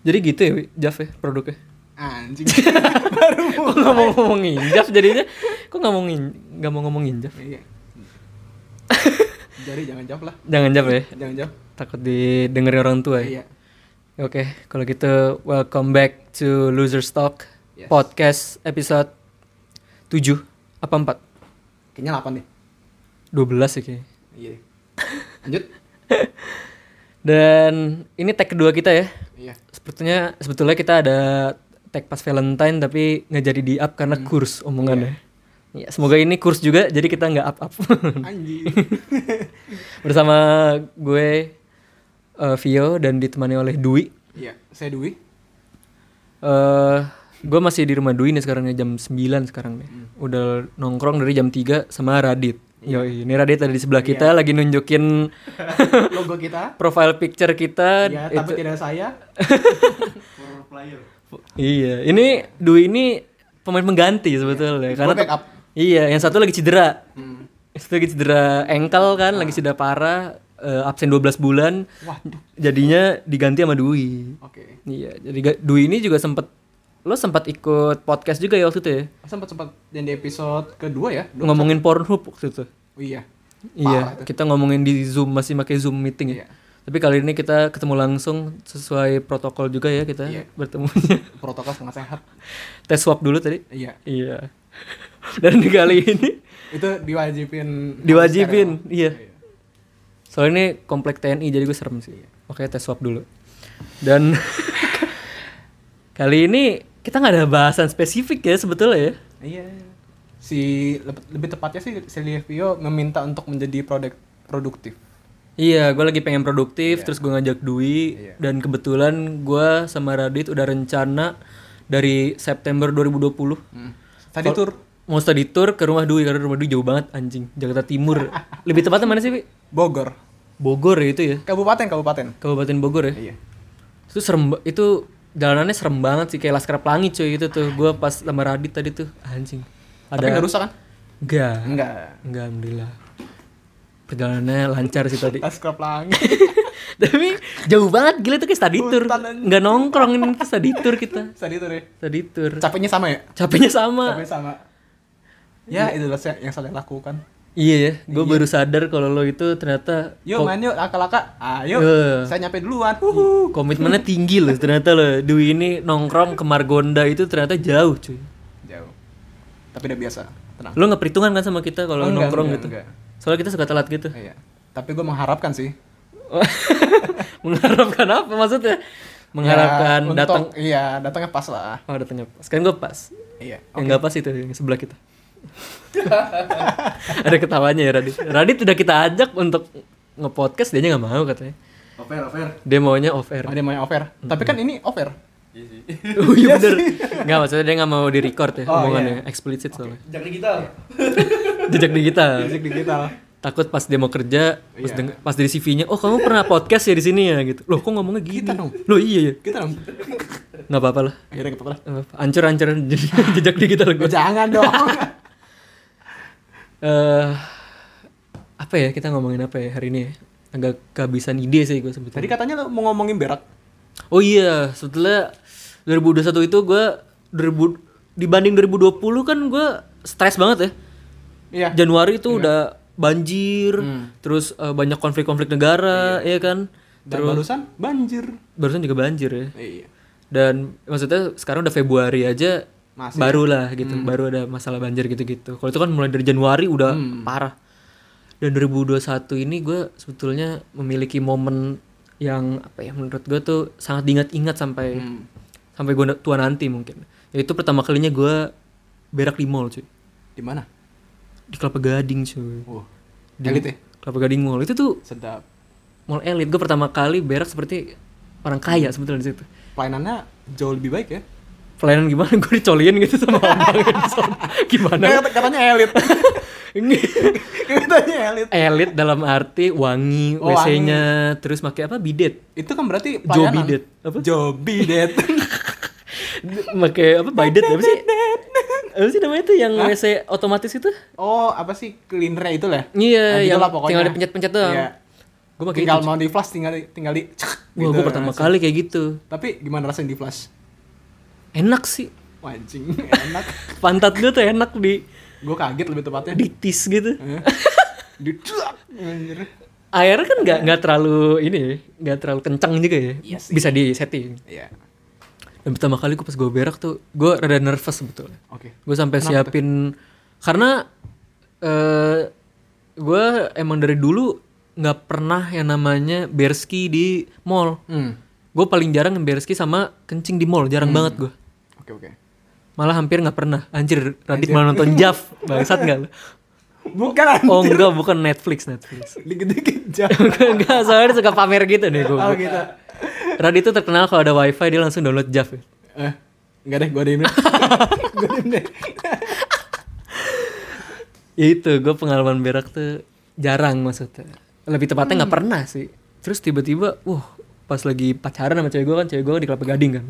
Jadi gitu ya, Wi, Jaf ya produknya. Anjing. Baru Kok nggak mau ngomongin Jaf jadinya? Kok nggak mau ngin, nggak mau ngomongin Jaf? Iya. Jadi jangan jawab lah. Jangan Jaf ya, Jangan jawab. takut didengerin orang tua ya. Iya. Oke, kalau gitu welcome back to Loser Talk Yes. podcast episode 7 apa 4? Kayaknya 8 deh. 12 ya kayaknya. Iya. Lanjut. Dan ini tag kedua kita ya. Iya. Sepertinya sebetulnya kita ada tag pas Valentine tapi nggak jadi di up karena kurs omongannya. Ya, semoga ini kurs juga jadi kita nggak up up. Anjing. Bersama gue eh, Vio dan ditemani oleh Dwi. Iya, saya Dwi. eh gue masih di rumah Dwi nih sekarang nih, jam 9 sekarang nih. Udah nongkrong dari jam 3 sama Radit. Iya. Yoi, ini Radit ada di sebelah kita lagi nunjukin Logo kita. profile picture kita. Iya, Itu- tapi tidak saya. Iya, ini Dwi ini pemain pengganti sebetulnya karena Gua backup. Iya, yang satu lagi cedera. Hmm. Yang satu lagi cedera engkel kan, lagi cedera parah, eh, absen 12 bulan. Ah. Waduh. Jadinya diganti sama Dwi. Oke. Iya, jadi ga- Dwi ini juga sempet lo sempat ikut podcast juga ya waktu itu ya? Sempat sempat dan di episode kedua ya. Dua- Ngomongin Pornhub waktu itu. Oh, iya. Iya, kita ngomongin di Zoom masih pakai Zoom meeting ya. Iya. Tapi kali ini kita ketemu langsung sesuai protokol juga ya kita Iya. bertemunya. Protokol setengah sehat. Tes swab dulu tadi. Iya. Iya. Dan di kali ini Itu diwajibin diwajibin, iya. Soalnya ini komplek TNI jadi gue serem sih. Oke, tes swab dulu. Dan kali ini kita nggak ada bahasan spesifik ya sebetulnya ya. Iya. Si leb- lebih tepatnya sih Silvio meminta untuk menjadi produk produktif. Iya, gue lagi pengen produktif, terus gue ngajak Dwi Iya. dan kebetulan gue sama Radit udah rencana dari September 2020 Tadi tur mau study tour ke rumah Dwi karena rumah Dwi jauh banget anjing, Jakarta Timur. Lebih tepatnya mana sih, Wi? Bogor, Bogor ya itu ya. kabupaten kabupaten. Kabupaten Bogor ya. Iya. Itu serem ba- itu jalanannya serem banget sih kayak Laskar Pelangi cuy itu tuh. Gua pas sama Radit tadi tuh anjing. Tapi nggak Ada rusak kan? enggak. Enggak. Enggak alhamdulillah. Perjalanannya lancar sih tadi. Tas kerap langi. Tapi jauh banget gila tuh kayak study tour. Hutan anjing. Enggak nongkrong ini tuh study tour kita. Tadi tur ya. Study tour. Capeknya sama ya? Capeknya sama. Capeknya sama. Ya, itu yang saya lakukan. Iya ya, gue baru sadar kalau lo itu ternyata Yuk main yuk, laka-laka. Ayo. Eh. Saya nyampe duluan. Huhu. uh, komitmennya tinggi loh ternyata lo. Dwi ini nongkrong ke Margonda itu ternyata jauh cuy. Jauh. Tapi udah biasa. Tenang. Lo nggak perhitungan kan sama kita kalau Nah. Oh, Enggak, nongkrong enggak, gitu? enggak. Soalnya kita suka telat gitu. Iya. Tapi gue mengharapkan sih. Mengharapkan apa maksudnya? Mengharapkan Ya, untuk- datang. Iya, datangnya pas lah. Oh datangnya pas. Kan gue pas. Iya. Yang nggak pas itu yang sebelah kita. Ada ketawanya ya Radit. Radit udah kita ajak untuk nge-podcast dia nggak mau katanya. Over, over. Dia maunya off air. Oh, dia mau yang over. Tapi kan ini over. Iya sih. Oh iya bener. Nggak maksudnya dia nggak mau di record ya Oh, omongannya eksplisit soalnya. Iya. Jangan digital. Jejak digital. Fisik digital. Takut pas dia mau kerja, pas, Iya. deng- pas dari CV-nya, oh kamu pernah podcast ya di sini ya gitu. Loh kok ngomongnya gini? Kita dong. Loh iya ya. Kita dong. Nggak apa-apa lah. Akhirnya kita lah. Eh, Oh, ancur-ancur jejak jejak digital gue. Jangan dong. eh apa ya kita ngomongin apa ya hari ini ya? agak kehabisan ide sih gue Tadi sebetulnya katanya lo mau ngomongin berak. oh iya sebetulnya 2021 itu gue 2000 dibanding 2020 kan gue stres banget ya Iya. Januari itu udah banjir terus eh, banyak konflik-konflik negara ya kan Dan barusan banjir. barusan juga banjir ya Iya. dan maksudnya sekarang udah Februari aja Masih. barulah gitu baru ada masalah banjir gitu-gitu kalau itu kan mulai dari Januari udah parah dan 2021 ini gue sebetulnya memiliki momen yang apa ya menurut gue tuh sangat diingat-ingat Hmm. sampai sampai gue tua nanti mungkin yaitu pertama kalinya gue berak di mall cuy Di mana? di Kelapa Gading cuy Oh. di Elit ya? Kelapa Gading Mall itu tuh Sedap. mall elit gue pertama kali berak seperti orang kaya sebetulnya di situ Pelayanannya jauh lebih baik ya. pelayanan gimana gue dicolin gitu sama abang Edson. gimana Eh, kata- katanya elit. ini katanya elit. elit dalam arti wangi Oh, wc nya terus pakai apa bidet Itu kan Joe berarti pelayanan. Bidet. Apa? Joe Bidet. pakai apa bidet apa sih apa sih namanya tuh yang wc otomatis itu oh, apa sih cleaner itu lah. iya Nah, yang gitulah pokoknya. tinggal dipencet-pencet doang Iya. gue pakai tinggal itu. mau di flash tinggal di- tinggal di cek. Wah, gue pertama kali kayak gitu. Tapi gimana rasanya di flash? Enak sih. Wancing, enak. Pantat gue tuh enak di gue kaget lebih tepatnya. ditis gitu. Eh. Di anjir. Airnya kan nggak nggak terlalu ini, ya, nggak terlalu kencang juga ya. Iya sih. Bisa di setting. Iya. Dan pertama kali gue pas gue berak tuh, gue rada nervous sebetulnya. Oke. Gue sampai siapin karena eh gue emang dari dulu nggak pernah yang namanya berski di mall. Hmm. Gue paling jarang berski sama kencing di mall, jarang banget gue. Oke, oke. Malah hampir nggak pernah. Anjir, Radit malah nonton Jaf, bangsat nggak lu? Bukan Oh enggak, bukan Netflix, Netflix. dikit-dikit jam. enggak, soalnya dia suka pamer gitu deh gue. Oh gitu. Radit tuh terkenal kalau ada wifi dia langsung download Jaf. ya. Eh, enggak deh, gue diemin. gue diemin deh. Ya itu, gue pengalaman berak tuh jarang maksudnya. Lebih tepatnya nggak pernah sih. Terus tiba-tiba, wah pas lagi pacaran sama cewek gue kan, cewek gue kan di Kelapa Gading kan.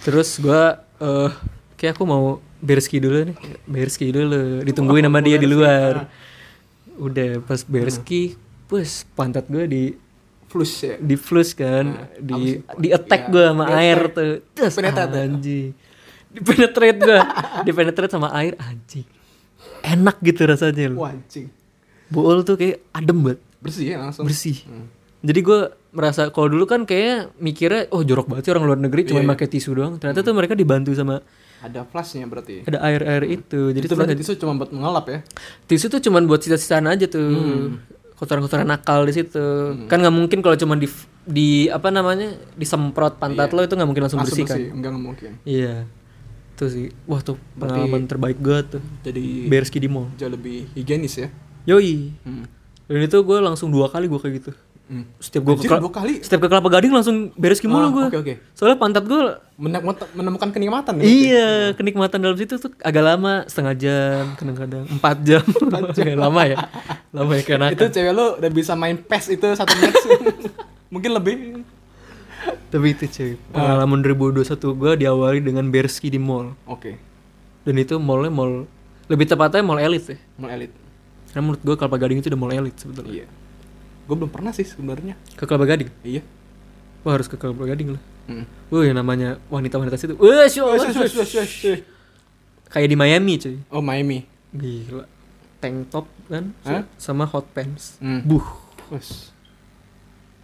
Terus gue, eh kayak aku mau berski dulu nih, berski dulu. Ditungguin sama dia di luar. Udah pas berski, bus pantat gue di Flus ya. di flush kan, di iya. di attack gue sama air tuh. Terus Penetrate. anjing. Di penetrate gue, di penetrate sama air anjing. Enak gitu rasanya loh. Wancing. Bool tuh kayak adem banget, Bersih ya langsung. bersih. Jadi gue merasa kalau dulu kan kayak mikirnya oh jorok banget sih orang luar negeri cuma pakai tisu doang. Ternyata tuh mereka dibantu sama Ada flushnya berarti. ada air-air Iya. Hmm. itu. Jadi Itu tuh berarti tisu cuma buat mengelap ya. tisu tuh cuman buat sisa-sisaan aja tuh. Kotoran-kotoran nakal di situ. Kan nggak mungkin kalau cuma di di apa namanya? disemprot pantat lo itu nggak mungkin Iya. langsung, bersih kan. bersih, enggak enggak mungkin. Iya. Itu sih. Wah, tuh pengalaman terbaik gue tuh. Jadi Berski di mall. jauh lebih higienis ya. Yoi. Hmm. Dan itu gue langsung dua kali gue kayak gitu. Hmm. Setiap gue ke Anjir, dua kali. Setiap ke Kelapa Gading langsung beres mulu Ah, gue. Oke, oke. Soalnya pantat gue Menem- Menemukan kenikmatan ya. iya kenikmatan dalam situ tuh agak lama setengah jam kadang-kadang empat jam, lama ya lama ya karena itu cewek lo udah bisa main PES itu satu match mungkin lebih tapi itu cuy pengalaman 2021 gue diawali dengan berski di mall oke dan itu mallnya mall lebih tepatnya mall elit ya mau elit karena menurut gue Kelapa Gading itu udah mall elit sebetulnya iya gue belum pernah sih sebenarnya ke Kelapa Gading iya wah harus ke Kelapa Gading lah Mm. Wah yang namanya wanita-wanita situ Wah, syo- Oh, shush, shush, shush, shush. Kayak di Miami cuy oh Miami Gila. Tank top kan Hah? sama hot pants. Hmm. Buh, Wes.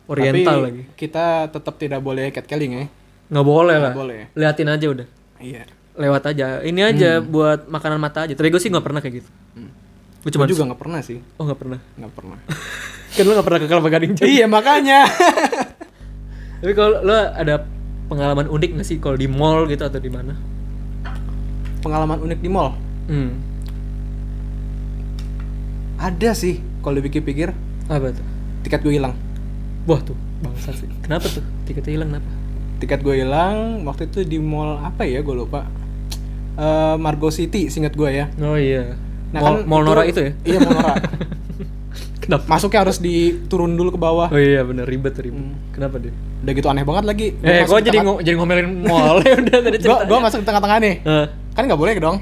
oriental Tapi lagi. kita tetap tidak boleh catcalling ya Nggak boleh lah. Nggak boleh Liatin aja udah. iya Lewat aja. Ini aja buat makanan mata aja. Tapi gue sih nggak pernah kayak gitu. Hmm. Gue Gua cuma juga nggak pernah sih oh nggak pernah. nggak pernah Kan lo nggak pernah ke Kelapa Gading cuy. iya makanya Tapi kalau lo ada pengalaman unik nggak sih kalau di mall gitu atau di mana? pengalaman unik di mall Hmm. ada sih kalau dipikir-pikir Apa tuh? tiket gue hilang Wah tuh, bangsa sih. Kenapa tuh? Tiketnya hilang kenapa? tiket gue hilang waktu itu di mall apa ya gue lupa Eh, Margo City singkat gue ya Oh iya. Nah, mall, kan mall Nora itu ya? Iya, Mall Nora. Kenapa? Masuknya harus diturun dulu ke bawah. Oh iya bener ribet ribet. Hmm. Kenapa deh? Udah gitu aneh banget lagi. Eh, gue jadi ngo- jadi ngomelin mall ya udah tadi gue cerita. gue masuk di tengah-tengah nih. Eh, Kan nggak boleh dong.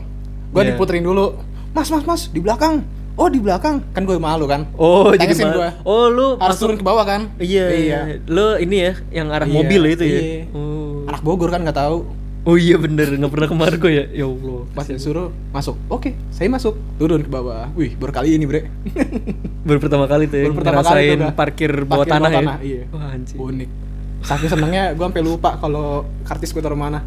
Gue Iya. diputerin dulu. Mas, mas, mas, di belakang. Oh, di belakang. Kan gue malu kan. oh, jadi Tengesin mal- gua. Oh, lu Harus turun ke bawah kan? iya, iya. Lu ini ya yang arah Iya, mobil ya itu ya. iya. Oh. Anak Bogor kan nggak tahu. Oh iya bener, nggak pernah ke Margo ya. Ya Allah. Pas disuruh masuk. Oke, saya masuk. Turun ke bawah. Wih, baru kali ini, Bre. Baru pertama kali tuh ya Baru pertama kali ngerasain tuh udah. parkir bawah Parkir tanah bawah ya. tanah, iya. Wah, anjing. Unik. Saking senengnya gue sampai lupa kalau kartis gue taruh mana.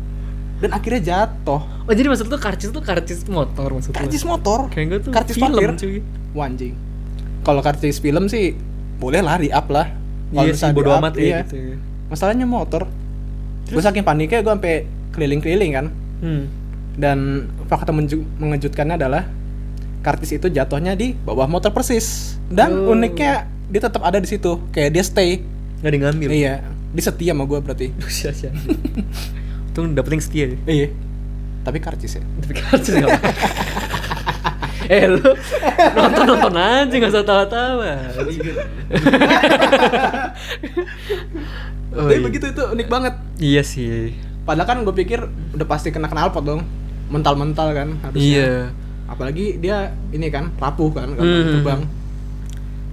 Dan akhirnya jatuh. Oh, jadi maksud lu karcis tuh karcis motor maksud lu? Kartis motor. Kayak gue tuh kartis film parkir. cuy. Wanjing. Kalau kartis film sih boleh lah di up lah. Iya Kalau bisa sih, bodo di-up, amat iya. ya gitu ya. Masalahnya motor. Gue saking paniknya gue sampai keliling-keliling kan. Hmm. Dan fakta menju- mengejutkannya adalah kartis itu jatuhnya di bawah motor persis. Dan Oh. uniknya dia tetap ada di situ. Kayak dia stay. Gak ada yang ngambil. Iya. Dia setia sama gue berarti. Duh, sia-sia. Itu dapetin setia ya. Iya. Tapi kartis ya. tapi karcis nggak apa eh lu nonton nonton aja nggak usah tawa-tawa Oh, Tapi iya. begitu itu unik banget. iya sih Padahal kan gue pikir udah pasti kena knalpot dong. Mental-mental kan harusnya. iya apalagi dia ini kan rapuh kan nggak Hmm. terbang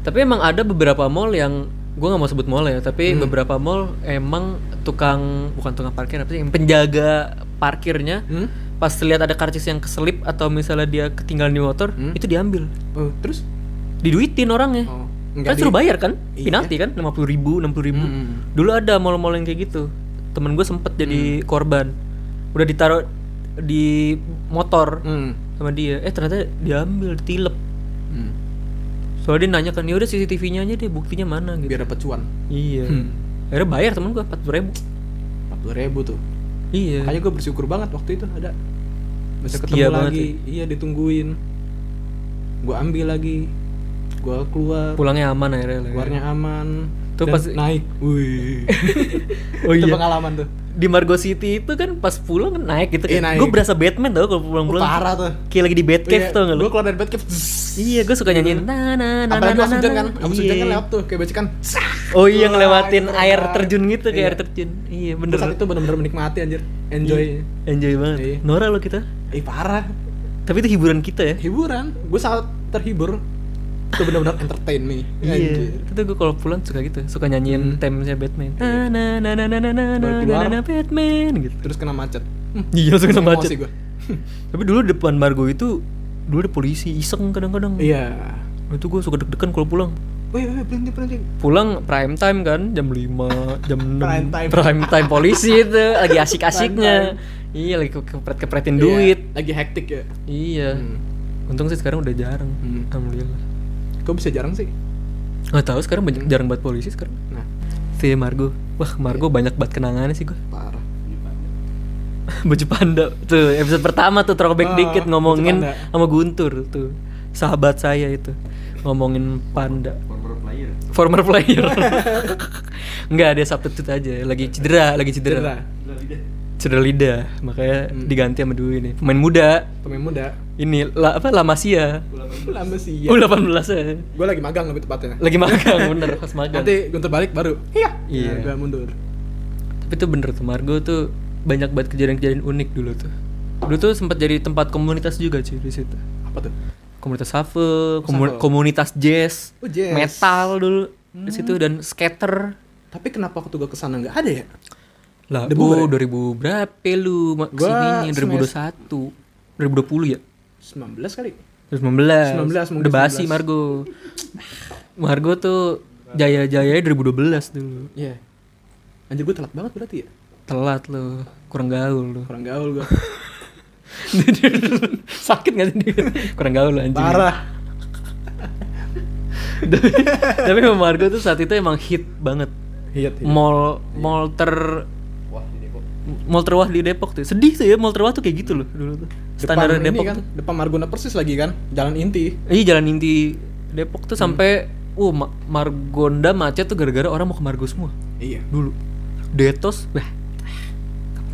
tapi emang ada beberapa mall yang gue nggak mau sebut mall ya tapi Hmm. beberapa mall emang tukang bukan tukang parkir apa sih yang penjaga parkirnya Hmm? pas lihat ada karcis yang keselip atau misalnya dia ketinggalan di motor Hmm. itu diambil Oh, terus? diduitin orangnya Oh, kan enggak suruh bayar kan Iya. penalti kan lima puluh ribu enam puluh ribu Hmm. dulu ada mall-mall yang kayak gitu temen gue sempet jadi korban udah ditaruh di motor Hmm. sama dia eh ternyata diambil tilep Hmm. soalnya dia nanya kan ya udah CCTV-nya aja deh buktinya mana gitu Hmm. Biar dapat cuan. iya akhirnya bayar temen gue empat ribu 40 ribu tuh. iya Makanya gue bersyukur banget waktu itu ada. Bisa Setia ketemu banget lagi. Iya, ditungguin. Gue ambil lagi. Gue keluar. pulangnya aman akhirnya lah ya. Keluarnya aman. Tuh Dan pas- naik. Wih. oh itu iya pengalaman tuh. di Margo City itu kan pas pulang naik Oh, Iya. gitu Iya, kan naik. gue berasa Batman tau kalau pulang pulang Parah tuh. kayak lagi di Batcave tau gak lu Gue keluar dari Batcave. iya nah, gue suka nyanyiin na na na na Apalagi na pas hujan kan, na. abis hujan kan Iya. lewat tuh, kayak becikan Sah! Oh iya Wah, ngelewatin itu air keren. terjun gitu kayak Iya. air terjun. Iya Bener. bener. Saat itu bener-bener menikmati anjir, enjoy Enjoy banget. Iya. Nora lo kita. Eh parah, Tapi itu hiburan kita ya. Iya, hiburan, gue sangat terhibur Itu bener-bener entertain me Iya. Anjir. Itu gue kalau pulang suka gitu, suka nyanyiin Hmm. temanya Batman. Na na na na na na na na Baru na keluar. na Batman gitu. Terus kena macet Hmm, Iya langsung kena emosi macet. gua. Tapi dulu depan Margo itu dulu ada polisi iseng kadang-kadang. Iya Itu gue suka deg-degan kalau pulang. Woi, woi, berhenti, berhenti Pulang prime time kan jam 5, jam 6. Prime time. prime time polisi itu lagi asik-asiknya. Prime Iya lagi ke- kepret-kepretin Iya, duit. Lagi hektik ya Iya. Hmm. Untung sih sekarang udah jarang. Hmm. Alhamdulillah. Kok bisa jarang sih? Gak tahu sekarang banyak jarang banget polisi sekarang. Nah, Si Margo. Wah, Margo Iya. banyak banget kenangannya sih gue. parah Baju panda. Tuh, episode pertama tuh throwback Ah, dikit ngomongin baju sama Guntur tuh. Sahabat saya itu ngomongin panda. former player Former player. Enggak, dia substitute aja. Lagi cedera, lagi Cedera, cedera. Cedera lidah, makanya diganti sama Dwi nih. Pemain muda. pemain muda Ini la, apa Lamasia. Lama sih ya U18 ya. Gue lagi magang lebih tepatnya Lagi magang bener pas magang. Nanti guntur balik baru Iya Iya. Nah, Gua mundur Tapi tuh bener tuh Margo tuh banyak banget kejadian-kejadian unik dulu tuh. Dulu tuh sempat jadi tempat komunitas juga cuy di situ. Apa tuh? Komunitas shuffle, komu- Shuffle. komunitas jazz, Hmm. Oh, jazz. metal dulu di situ dan skater. Tapi kenapa waktu gue kesana nggak ada ya? Lah, Udah bu, bubar 2000 berapa lu mak- Gua kesininya? 2021. 2020 ya? 19 kali 2019. 19 mungkin Udah basi 19. Margo. Margo tuh jaya-jayanya 2012 dulu. Iya Anjir gue telat banget berarti ya Telat lo, kurang gaul lo. Kurang gaul gue Sakit gak sih dia? Kurang gaul anjing. Parah tapi tapi sama Margo tuh saat itu emang hit banget Iya mall mall ter wah di Depok mall terwah di Depok tuh sedih tuh ya mall terwah tuh kayak gitu loh dulu tuh standar Depan Depok ini kan tuh Depan Margona persis lagi kan Jalan inti iya jalan inti Depok tuh Hmm. sampai uh Ma- Margonda macet tuh gara-gara orang mau ke Margo semua Iya dulu Detos lah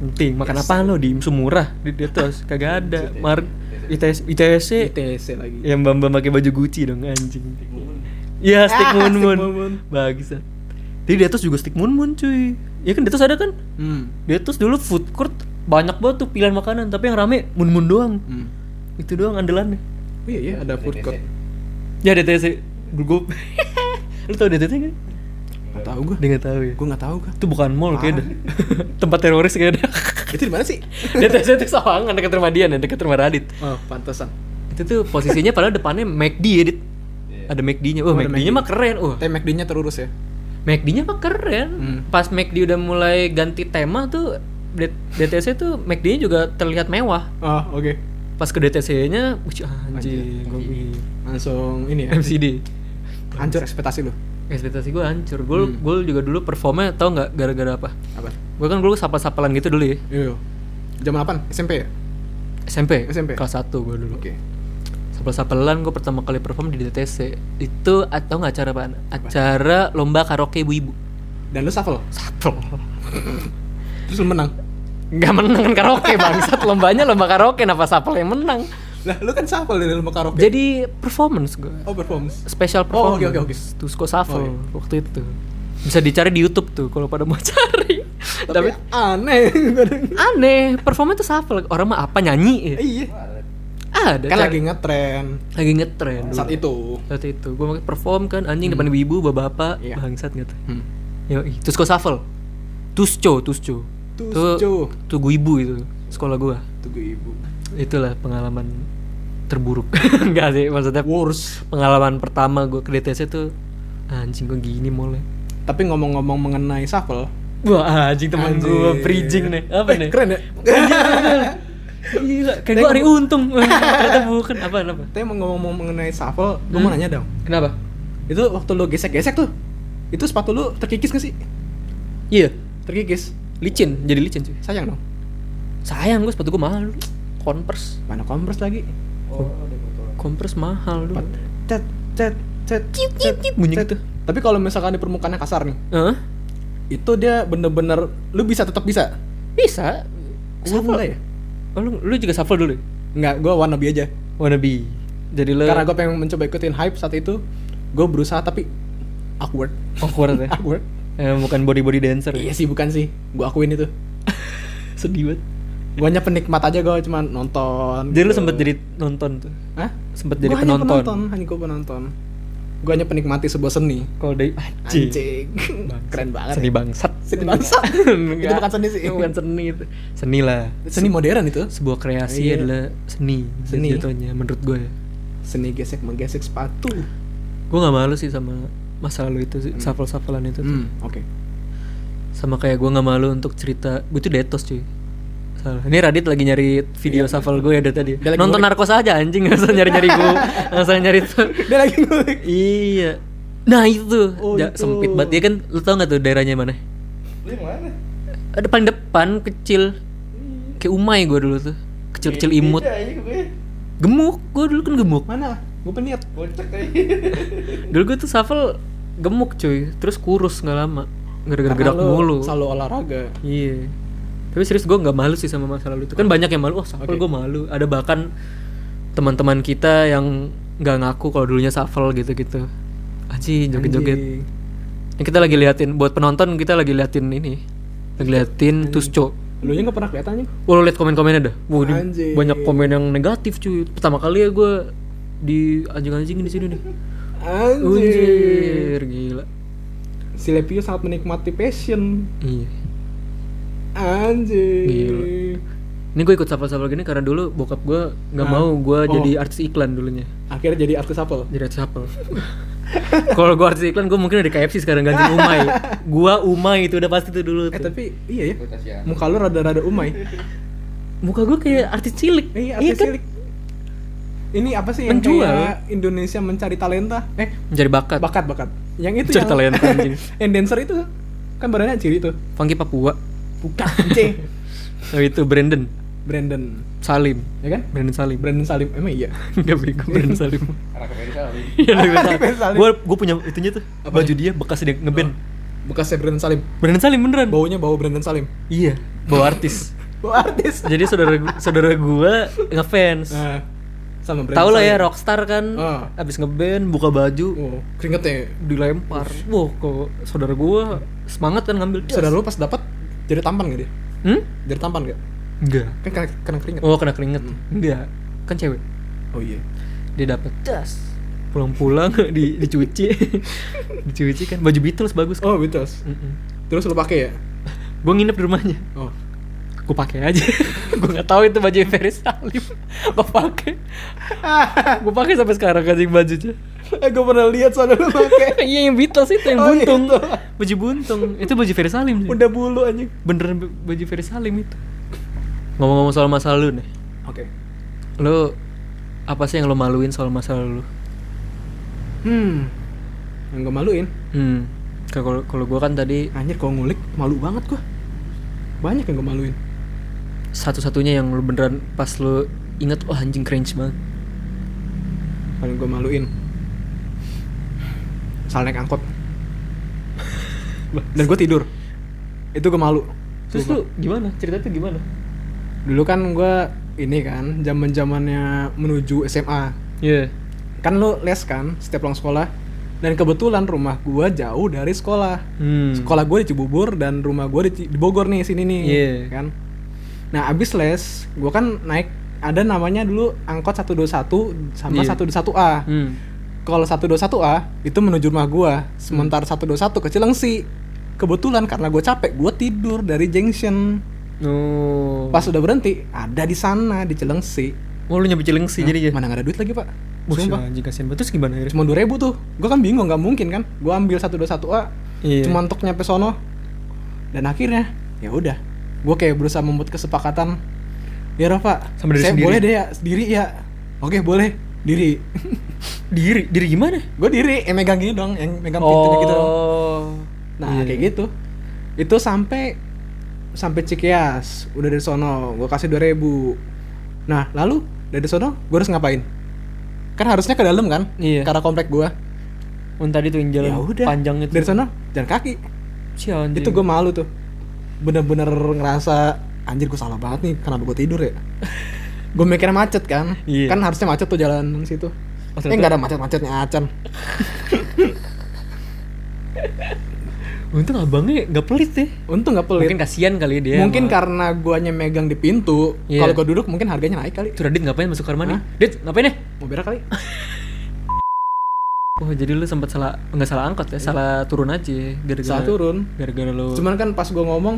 penting makan apaan lo di Imsum murah di Detos kagak ada Mar ITS ITSC ITC E lagi Yang Bamba pakai baju Gucci dong anjing. Iya, stick Ah, moon stick moon. Moon Moon. Bagus. ah. Jadi di atas juga stick moon moon cuy. Ya kan di atas ada kan? Hmm Di atas dulu food court banyak banget tuh pilihan makanan, tapi yang rame moon moon doang. Hmm Itu doang andalannya. Oh Iya iya ada food court Ya DTC gugup. Lu tau DTC nggak? Gak tau gue Dia nggak tahu ya. Gue gak tau gue Itu bukan mall Ah. kayaknya. dah. Tempat teroris kayaknya. dah. Itu di mana sih? DTC itu Sawangan dekat rumah Dian, ya, dekat rumah Radit. Oh pantesan Itu tuh posisinya padahal depannya McD ya, Dit. Ada McD-nya. Wah, Oh, ada McD-nya McD. mah keren. Wah, Tapi McD nya terurus ya McD-nya mah keren. Hmm. Pas McD udah mulai ganti tema tuh D- DTC tuh McD-nya juga terlihat mewah. Oh oke Pas ke DTC-nya, wih anjing, gua- ih. Langsung ini ya MCD. Hancur ekspektasi lu Ekspektasi gue hancur. Gue Hmm. juga dulu performnya tau nggak gara-gara apa? Apa? Gue kan dulu sapal-sapalan gitu dulu ya. Iya Jam 8 SMP ya? SMP, SMP. kelas 1 gue dulu. Oke Sapal-sapalan gue pertama kali perform di DTC. Itu atau nggak acara apaan? Acara lomba karaoke ibu-ibu. Dan lu shuffle? Sapel. Terus lu menang? nggak menang kan karaoke bangsat lombanya lomba karaoke napa sapel yang menang Lah lu kan shuffle dari rumah karaoke jadi performance gue Oh performance special Oh, performance oke, oke, oke. tuh Sko Shuffle Oh, iya. waktu itu bisa dicari di YouTube tuh kalau pada mau cari tapi, Tapi aneh kadang. aneh performance tuh shuffle orang mah apa nyanyi ya? Iya ada. kan cara- lagi ngetren lagi ngetren dulu. saat itu Saat itu gue pakai perform kan anjing depan ibu-ibu, bapak-bapak, Iya. bangsat gitu. Hmm. Yo, terus kok shuffle. Tusco, tusco. Tusco. Tuh, tugu ibu itu sekolah gua. tunggu ibu Itulah pengalaman terburuk. Enggak sih, maksudnya worse pengalaman pertama gua ke DTS itu anjing gua gini mulai. tapi ngomong-ngomong mengenai shuffle Wah, anjing teman Anjing. gua bridging nih. Apa eh, nih? keren ya Gila, kayak gua hari untung. Ternyata bukan apa apa. tapi mau ngomong-ngomong mengenai shuffle gue mau Hmm. nanya dong Kenapa? itu waktu lo gesek-gesek tuh itu sepatu lu terkikis gak sih Iya, terkikis licin, jadi licin cuy. sayang dong Sayang gua sepatu gua mahal. dulu. Converse. mana converse lagi Converse mahal dulu. cet cet cet Ciut, cet, ciut, ciut, bunyi cet. gitu. tapi kalau misalkan di permukaannya kasar nih Heeh. itu dia bener-bener lu bisa tetap bisa Bisa. Shuffle Shuffle. ya Oh, lu, lu juga shuffle dulu. ya? nggak gue wannabe aja Wannabe. Jadi lu karena gue pengen mencoba ikutin hype saat itu gue berusaha tapi awkward awkward ya. awkward Eh, bukan body body dancer. ya. iya sih bukan sih gue akuin itu Sedih banget. gue hanya penikmat aja gue cuma nonton Jadi lu gitu. sempet jadi nonton tuh. Hah? Sempet jadi Gua hanya penonton penonton. hanya gue penonton gue hanya penikmati sebuah seni Kalau dari anjing keren banget Seni ya. bangsat. Seni bangsat. Enggak. Itu bukan seni sih. Bukan seni itu. Seni lah. seni modern itu Sebuah kreasi Iya. adalah seni. Seni. Seni. Jatuhnya menurut gue ya. seni gesek menggesek sepatu Gue gak malu sih sama masa lalu itu sih. Shuffle-shufflean itu tuh. hmm, oke sama kayak gue nggak malu untuk cerita gue tuh detos cuy salah ini Radit lagi nyari video shuffle gue ya dari tadi Dia Iya. lagi nonton ngulik. narkos aja anjing nggak usah nyari nyari gue nggak usah nyari tuh dia lagi ngulik iya nah itu Oh, Ja- itu. sempit banget dia kan lu tau nggak tuh daerahnya mana Lu yang mana? ada paling depan kecil kayak umai gue dulu tuh kecil Iya. kecil imut gemuk gue dulu kan gemuk Mana? Gue peniat. dulu gue tuh shuffle gemuk cuy terus kurus nggak lama gara-gara gerak Karena lu mulu Selalu olahraga. Iya. Tapi serius gue nggak malu sih sama masa lalu itu. Kan banyak yang malu. Wah, shuffle Oke. gue malu. Ada bahkan teman-teman kita yang nggak ngaku kalau dulunya shuffle gitu-gitu. Aji joget-joget. Anjing. Ini kita lagi liatin buat penonton kita lagi liatin ini. Lagi liatin Tusco. Lu nya nggak pernah kelihatan anjing. Wah, lo liat komen-komennya dah. Wah, di- Anjing. banyak komen yang negatif cuy. Pertama kali ya gue di anjing-anjing di sini nih. Anjir. Anjir, gila. Si Lepio sangat menikmati passion. Iya. Anjir. Gila. Ini gue ikut shuffle-shuffle gini karena dulu bokap gue nggak Ah. mau gue Oh. jadi artis iklan dulunya. Akhirnya jadi artis apa? Jadi artis apa? Kalau gua artis iklan, gua mungkin udah di KFC sekarang ganti Umay. Gua Umay itu udah pasti tuh dulu. Eh Tuh. tapi iya ya. Muka lu rada-rada umai. Muka gua kayak artis cilik. Eh, Iya, artis kan? cilik. Ini apa sih yang Penjual. kayak Indonesia mencari talenta? Eh, Mencari bakat. bakat bakat. Yang Mencari itu yang talenta, anjing. yang dancer itu kan badannya ciri tuh. Funky Papua. Bukan. C. Oh, itu Brandon Brandon. Salim. Ya kan? Brandon Salim. Brandon Salim emang iya. Enggak bego Brandon Salim. Anak Amerika kali. Iya, Brandon Brandon Salim. Oh. Salim. Gua gua punya itunya tuh. Baju dia bekas dia ngeband. Bekasnya Brandon Salim. Brandon Salim beneran. Baunya bau Brandon Salim. Iya, bawa artis. Bau artis. Jadi saudara gu- saudara gua ngefans. Nah, sama Brandon. Tahu lah ya Salim. rockstar kan Ah. abis ngeband buka baju Oh, keringetnya. dilempar wah kok saudara gua semangat kan ngambil Saudara lu pas dapat jadi tampan gak dia? hmm Jadi tampan gak? enggak Kan karena, karena keringet. oh kena keringet enggak kan cewek Oh iya. dia dapat das pulang-pulang di dicuci dicuci kan baju Beatles bagus kan? Oh, Beatles. Mm-mm. Terus lu pakai ya? gua nginep di rumahnya Oh. gua pakai aja gua nggak tahu itu baju Ferry Salim gua pakai gua pakai sampai sekarang anjing bajunya eh, gue pernah lihat saudara lu pakai. iya yang Beatles itu yang Oh, buntung itu. baju buntung itu baju Ferry Salim sih. Udah bulu anjing. beneran b- baju Ferry Salim itu ngomong-ngomong soal masa lalu nih Oke. lo apa sih yang lo maluin soal masa lalu Hmm. Yang gue maluin. hmm kalau kalau gue kan tadi Anjir kalau ngulik malu banget gua. Banyak yang gue maluin. satu-satunya yang lo beneran pas lo inget wah anjing cringe banget Paling gue maluin. Salah naik angkot. Dan gue tidur. Itu gue malu. terus Sumpah. lo gimana cerita itu gimana dulu kan gua ini kan zaman zamannya menuju SMA. Iya Kan lu les kan setiap pulang sekolah. Dan kebetulan rumah gua jauh dari sekolah. hmm sekolah gue di Cibubur dan rumah gue di, Ci- di Bogor nih sini nih Iya. kan nah abis les gue kan naik ada namanya dulu angkot 121 sama Iya. 121A. Hmm. Kalau 121A itu menuju rumah gua, sementara 121 ke Cilengsi. Kebetulan karena gue capek, gue tidur dari junction. Oh. Pas udah berhenti, ada di sana di Cilengsi. Oh, lu nyampe Cilengsi jadi ya. Mana nggak ada duit lagi pak? Bos, Sumpah. anjing kasihan banget. Terus gimana akhirnya? Cuma 2000 tuh. Gue kan bingung, nggak mungkin kan? Gue ambil 121A, Iya. cuma untuk nyampe sono. Dan akhirnya, ya udah. Gue kayak berusaha membuat kesepakatan. Ya Rafa, Sama diri saya sendiri. boleh deh ya sendiri ya. Oke boleh diri. diri diri gimana? gue diri yang megang gini dong, yang megang pintunya gitu. dong. Nah Oh, Iya. kayak gitu. Itu sampai sampai Cikias, udah dari sono, gue kasih 2000 Nah lalu dari sono, gue harus ngapain? Kan harusnya ke dalam kan? Iya. Karena komplek gue. Oh, tadi tuh yang jalan Ya udah. panjang itu. Dari sono, jalan kaki. Si anjing. Itu gue malu tuh. Bener-bener ngerasa anjir gue salah banget nih, kenapa gue tidur ya? gue mikirnya macet kan? Iya. Kan harusnya macet tuh jalanan situ. Oh, eh ternyata- nggak ada macet-macetnya acan. Untung abangnya nggak pelit ya. Untung nggak pelit. Mungkin kasihan kali ya dia. mungkin sama- karena guanya megang di pintu Iya. kalau gua duduk mungkin harganya naik kali Tuh Radit ngapain masuk kamar mandi? Hah? Dit, ngapain ya? mau berak kali Wah, jadi lu sempat salah nggak salah angkot ya, salah turun aja ya, gara-gara salah turun gara-gara lu. cuman kan pas gua ngomong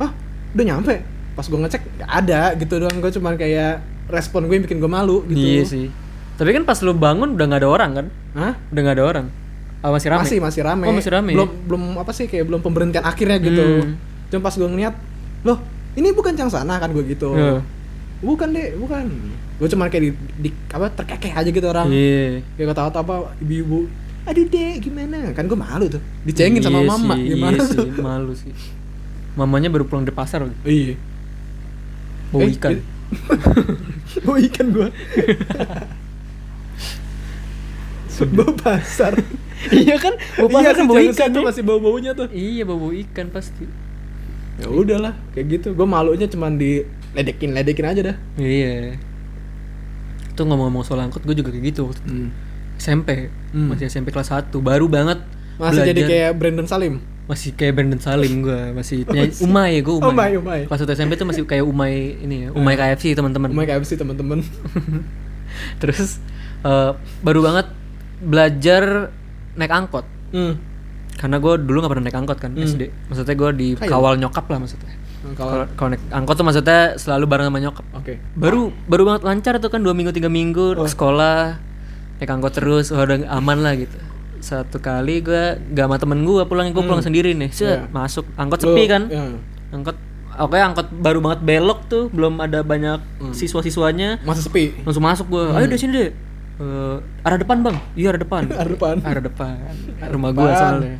ah udah nyampe pas gua ngecek nggak ada gitu doang gua cuman kayak respon gue yang bikin gua malu gitu Iya sih. Tapi kan pas lu bangun udah nggak ada orang kan? Hah? Udah nggak ada orang. Ah, masih ramai. masih masih rame Oh, masih rame. belum belum apa sih kayak belum pemberhentian akhirnya gitu Hmm. cuma pas gua ngeliat loh ini bukan cang sana kan gua gitu Iya. bukan deh bukan gua cuman kayak di, di- apa terkekeh aja gitu orang Iya. kayak kata kata apa ibu-ibu aduh deh gimana kan gue malu tuh dicengin sama Iya mama sih, gimana iya tuh sih, malu sih. Mamanya baru pulang dari pasar loh, iya bawa Eh, ikan. eh. bawa ikan gue bawa pasar iya kan? Bawa pasar iya kan kan bawa ikan. tuh ya? masih bau baunya tuh Iya, bawa bawa ikan pasti. ya udahlah kayak gitu gue malunya cuman di ledekin ledekin aja dah Iya. Itu ngomong-ngomong soal angkot, gue juga kayak gitu waktu itu. SMP, Hmm. masih SMP kelas 1, baru banget masih jadi belajar. kayak Brandon Salim masih kayak Brandon Salim gue masih nyai- Umay gue Umay. Umay, Umay. Hmm. Kelas 1 SMP tuh masih kayak Umay ini ya, Umay KFC teman-teman. Umay KFC teman-teman Terus eh, baru banget belajar naik angkot. hmm. Karena gue dulu nggak pernah naik angkot kan SD. Maksudnya gue dikawal nyokap lah maksudnya. Nah, kalau Kalau kalau naik angkot tuh maksudnya selalu bareng sama nyokap. oke Baru baru banget lancar tuh kan dua minggu tiga minggu Oh. ke sekolah naik angkot terus wah, udah aman lah gitu. Satu kali gue gak sama temen gue pulang, Hmm. gue pulang sendiri nih. Set, Iya. Masuk angkot sepi kan? ya. Angkot Oke, angkot baru banget belok tuh, belum ada banyak Hmm. siswa-siswanya. masih sepi Langsung masuk gue. Ayo Hmm. dari sini deh. Eh, arah depan, Bang. Iya, arah depan. Ada depan arah depan rumah gue depan. Nah. soalnya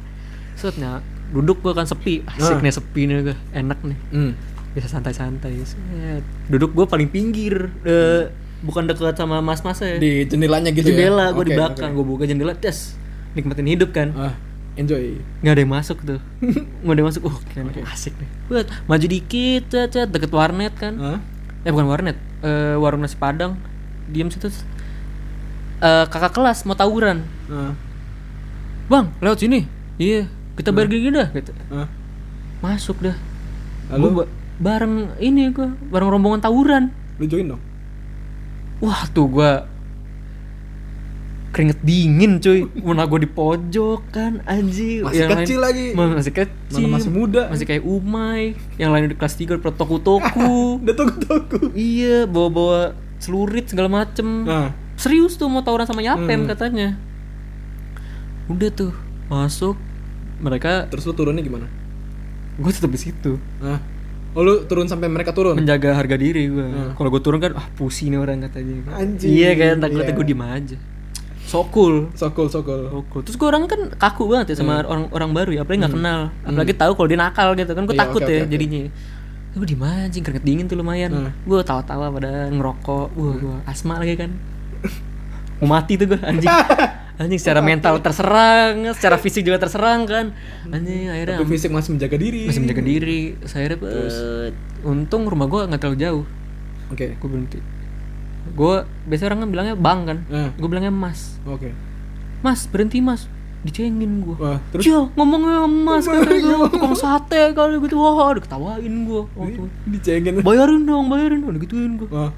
setnya duduk gue kan sepi asik nih sepi nih gue enak nih hmm. bisa santai-santai Set. duduk gue paling pinggir Eh, bukan dekat sama mas-mas ya di jendelanya gitu jendela ya? gue di Oke, belakang gue buka jendela tes nikmatin hidup kan oke. ah, enjoy nggak ada yang masuk tuh nggak ada yang masuk oh keren asik nih Buat, maju dikit cet, cet, deket warnet kan Hah? eh bukan warnet eh, warung nasi padang diem situ Eh, kakak kelas mau tawuran Hah? Bang, lewat sini. Iya, Nah. kita bayar gini dah gitu. Hah? Masuk dah. Lalu? Gua ba- bareng ini gua, bareng rombongan tawuran. lu join dong Wah, tuh gua keringet dingin cuy mana gua di pojok kan anjir Masih kecil lagi. Ma- masih kecil Mana masih muda. masih kayak umai yang lain di kelas 3 udah toku toku udah toku toku iya bawa bawa selurit segala macem nah Hmm. serius tuh mau tawuran sama Yapem katanya udah tuh masuk mereka terus lu turunnya gimana gue tetap di situ nah oh lu turun sampai mereka turun menjaga harga diri gue kalau gue turun kan ah pusi nih orang katanya Hmm. Anjing. iya kan takutnya Iya. gue diem aja so cool sokol sokol So cool. terus gue orang kan kaku banget ya Hmm. sama orang orang baru ya apalagi nggak kenal apalagi tahu kalau dia nakal gitu kan gue Iya, takut oke, ya oke, oke. jadinya gue diem aja keringet dingin tuh lumayan Hmm. gue tawa-tawa pada ngerokok gue asma lagi kan mau mati tuh gue anjing anjing secara mental terserang secara fisik juga terserang kan anjing akhirnya tapi fisik masih menjaga diri masih menjaga diri saya untung rumah gua nggak terlalu jauh oke gue berhenti Gua biasanya orang kan bilangnya bang kan Eh. Gua bilangnya mas oke mas berhenti mas dicengin gua wah terus Ya, ngomongnya mas katanya tukang sate kali gitu wah diketawain gua waktu dicengin bayarin dong bayarin dong gituin gua wah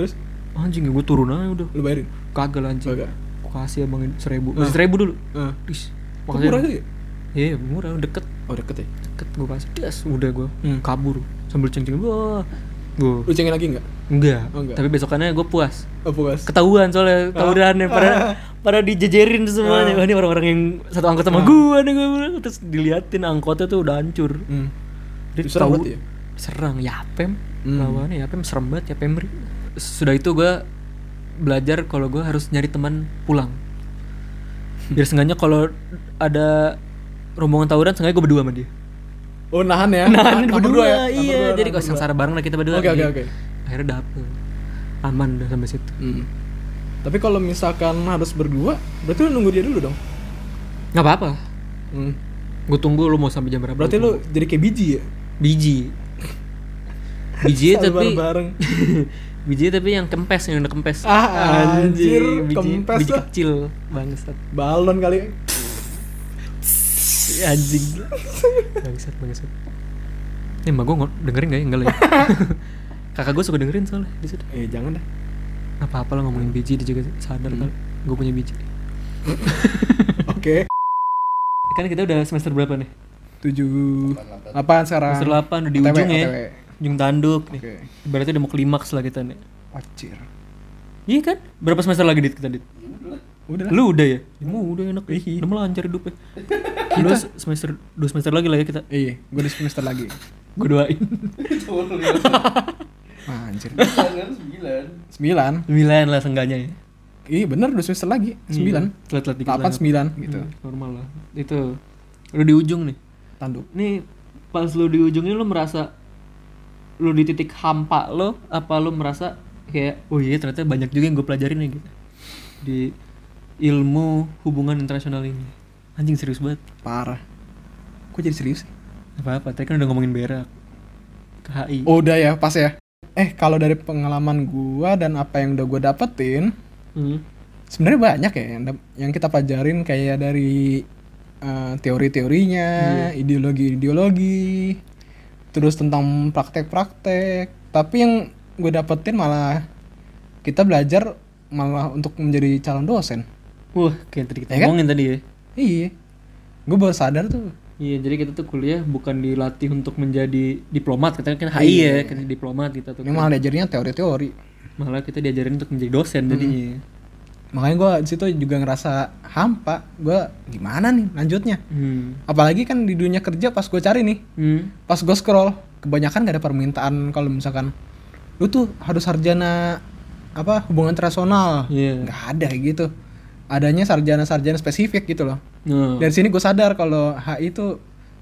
Terus anjing ya gue turun aja udah lu bayarin. kagak lah, anjing Kagak. gue kasih abang ini seribu Nah. Masih seribu dulu Heeh. Dis, Kok murah ya? makasih sih? iya murah deket Oh, deket ya. deket gue kasih das udah gue Hmm. kabur sambil ceng ceng wah gue Lu cengin lagi enggak? enggak. Oh, enggak. tapi besokannya gue puas Oh, puas. ketahuan soalnya Oh. tawurannya pada pada dijejerin semuanya wah ini orang-orang yang satu angkot Oh. sama gua nih gua bilang. terus diliatin angkotnya tuh udah hancur Hmm. dia tahu Diserang berarti ya? serang yapem Hmm. lawannya ya yapem serem banget yapem ri. sudah itu gua belajar kalau gua harus nyari teman pulang biar seenggaknya kalau ada rombongan tawuran seenggaknya gua berdua sama dia Oh, nahan ya. Nah, Nahan, berdua, iya. Nahan berdua, jadi nahan kalau berdua. sengsara bareng lah kita berdua. Oke, oke, Iya. oke. Akhirnya dapet aman udah sampai situ. Hmm. Tapi kalau misalkan harus berdua, berarti lu nunggu dia dulu dong. nggak apa-apa. Hmm. Gue tunggu lu mau sampai jam berapa? Berarti gua lu jadi kayak biji ya? biji biji Iya, tapi bareng. biji tapi yang kempes yang udah kempes Ah, anjir, biji, kempes biji lah. kecil bangsat Balon kali. anjing bangsat bangsat ini mbak gue dengerin gak ya enggak lah ya kakak gue suka dengerin soalnya di situ Eh, jangan dah. apa apa lo ngomongin biji dia juga sadar kalau gue punya biji Oke. kan kita udah semester berapa nih Tujuh. Apaan sekarang? semester 8 udah di OTW, ujung ya OTW. ujung tanduk nih Oke. berarti udah mau klimaks lah kita nih Wacir. iya kan berapa semester lagi dit kita dit Udah lah. Lu udah ya? Emang udah enak ya. Udah melancar hidupnya. Lu se- semester dua semester lagi lah ya kita. Iya, gue di semester lagi. Gue doain. Wah, Ah, anjir. sembilan Sembilan. Sembilan lah sengganya ya. Iya, bener dua semester lagi. Sembilan. Telat-telat dikit. Delapan, lah. sembilan Iya. gitu. Hmm, Normal lah. Itu udah di ujung nih. Tanduk. Nih pas lu di ujungnya lu merasa lu di titik hampa lo apa lu merasa kayak oh iya ternyata banyak juga yang gue pelajarin nih gitu di ilmu hubungan internasional ini anjing serius banget Parah. Kok jadi serius sih? apa apa tadi kan udah ngomongin berak ke HI Udah ya, pas ya. Eh, kalau dari pengalaman gua dan apa yang udah gua dapetin, Hmm. sebenarnya banyak ya yang, dap- yang kita pajarin kayak dari eh, teori-teorinya, ideologi-ideologi, terus tentang praktek-praktek. Tapi yang gue dapetin malah kita belajar malah untuk menjadi calon dosen. Wah, kayak tadi kita Ya kan? ngomongin tadi ya. Iya, gue baru sadar tuh. Iya, jadi kita tuh kuliah bukan dilatih untuk menjadi diplomat, kita kan HI Iya. ya, kan diplomat kita tuh. Ini malah diajarnya teori-teori. Malah kita diajarin untuk menjadi dosen jadinya. ya. Makanya gue di situ juga ngerasa hampa. Gue gimana nih lanjutnya? Hmm. Apalagi kan di dunia kerja pas gue cari nih, Hmm. pas gue scroll kebanyakan gak ada permintaan kalau misalkan lu tuh harus sarjana apa hubungan internasional Iya. nggak ada kayak gitu adanya sarjana-sarjana spesifik gitu loh Nah, dari sini gue sadar kalau HI itu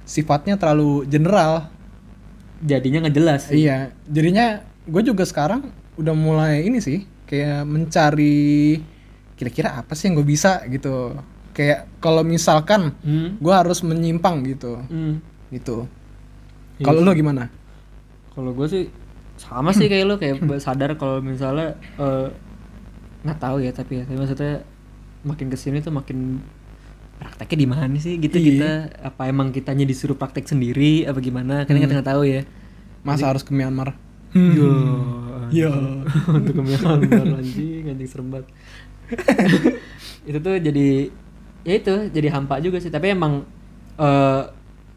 sifatnya terlalu general jadinya nggak jelas. sih. iya jadinya gue juga sekarang udah mulai ini sih kayak mencari kira-kira apa sih yang gue bisa gitu kayak kalau misalkan Hmm. gue harus menyimpang gitu Hmm. gitu Iya kalau lu gimana Kalau gue sih sama sih kayak lo kayak Hmm. sadar kalau misalnya eh, nggak tahu ya tapi ya tapi maksudnya makin kesini tuh makin prakteknya di mana sih Iya. gitu kita apa emang kitanya disuruh praktek sendiri apa gimana kan Hmm. kita nggak tahu ya masa harus ke Myanmar Yo. Yo. Untuk kemialan anjing, anjing serem banget. itu tuh jadi ya itu jadi hampa juga sih tapi emang eh,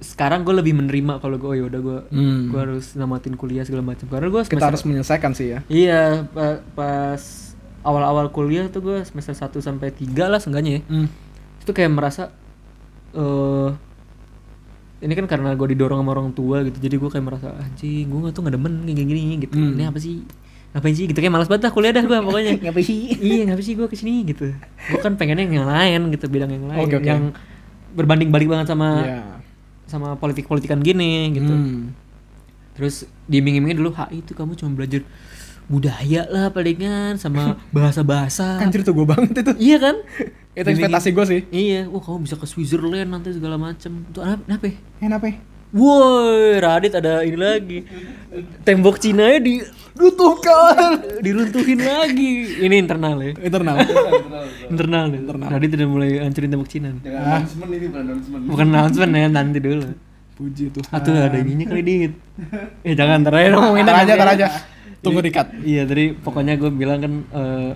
sekarang gue lebih menerima kalau gue oh yaudah gue Hmm. gue harus namatin kuliah segala macam karena gue kita harus menyelesaikan sih ya iya pa- pas awal-awal kuliah tuh gue semester 1 sampai 3 lah seenggaknya ya itu kayak merasa eh ini kan karena gue didorong sama orang tua gitu jadi gue kayak merasa anjing gue tuh nggak demen kayak gini gitu Hmm. ini apa sih ngapain sih gitu kayak malas banget dah kuliah dah gue pokoknya ngapain sih iya ngapain sih gue kesini gitu gue kan pengennya yang lain gitu bidang yang lain Oke, oke. yang berbanding balik banget sama Iya. Hmm. sama politik politikan gini gitu Terus diiming-imingin dulu HI itu kamu cuma belajar budaya lah palingan sama bahasa-bahasa. Anjir tuh gue banget itu. iya kan? Itu ekspektasi gue sih. Iya, wah kamu bisa ke Switzerland nanti segala macam. Tuh kenapa? kenapa ya? Enak ya? Woi, Radit ada ini lagi. Tembok Cina ya di kan. Butuhkan. diruntuhin lagi. Ini internal ya. Internal. Internal nih. Radit udah mulai hancurin tembok Cina. nih. jangan announcement ini bukan announcement Bukan announcement ya, nanti dulu. Puji tuh. Atau ada ininya kali dit. Eh jangan ntar aja dong, ngomongin Ntar aja, ntar aja. Tunggu dikat. Iya, jadi pokoknya gue bilang kan eh,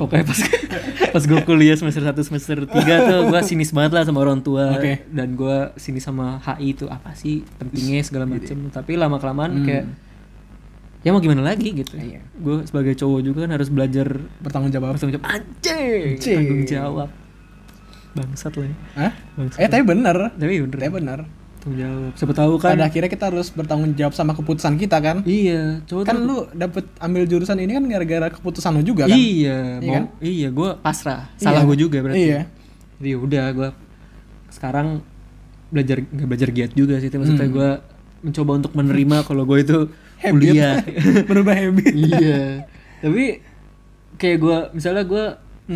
pokoknya pas pas gue kuliah semester 1 semester 3 tuh gue sinis banget lah sama orang tua Oke. dan gue sinis sama HI itu apa sih pentingnya segala macem iya. tapi lama kelamaan Hmm. kayak ya mau gimana lagi gitu. Iya. Gue sebagai cowok juga kan harus belajar Bertanggung jawab. bertanggung jawab anjing, Anjing. tanggung jawab. Bangsat lah. ya. Hah? Bangsat. Eh tapi bener. Tapi ya bener Tapi bener. tanggung jawab. Siapa tahu kan Pada akhirnya kita harus bertanggung jawab sama keputusan kita kan. Iya, cowok tuh Kan lu dapet ambil jurusan ini kan gara-gara keputusan lu juga kan. Iya, Iya mau kan? iya gue pasrah. Salah gue juga berarti. Iya. Jadi ya udah gue sekarang belajar nggak belajar giat juga sih, tapi maksudnya Hmm. gue mencoba untuk menerima kalau gue itu kuliah. Berubah habit. iya. Tapi kayak gue misalnya gue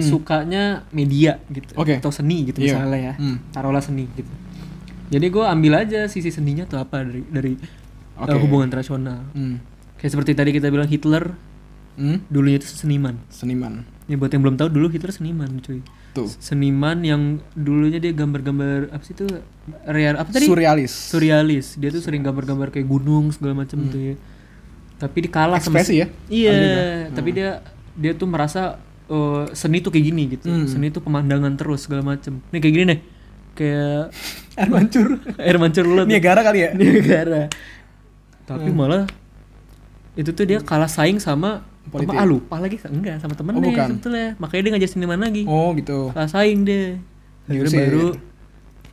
sukanya media gitu Hmm. Oke. atau seni gitu Iya. misalnya ya. Hmm. Taruhlah seni gitu. Jadi gue ambil aja sisi seninya tuh apa dari dari uh, Oke. hubungan tradisional. Hmm. Kayak seperti tadi kita bilang Hitler Hmm? dulunya itu seniman. Seniman. Ya buat yang belum tahu dulu Hitler seniman cuy. Tuh. Seniman yang dulunya dia gambar-gambar apa sih itu real apa tadi? Surrealis. Surrealis. Dia tuh sering gambar-gambar kayak gunung segala macam tuh ya. Tapi dia kalah sama Hmm. Ekspresi ya? Hmm. Iya, tapi dia dia tuh merasa eh, seni tuh kayak gini gitu. Hmm. Seni tuh pemandangan terus segala macam. Nih kayak gini nih. Kayak Air mancur. air mancur lu tuh. Iya. Niagara kali ya? Niagara. Tapi Hmm. malah itu tuh dia kalah saing sama Politik. teman Oh, ah lupa lagi enggak sama temennya bukan. sebetulnya makanya dia ngajar seniman lagi Oh gitu. kalah saing deh akhirnya Diusir. baru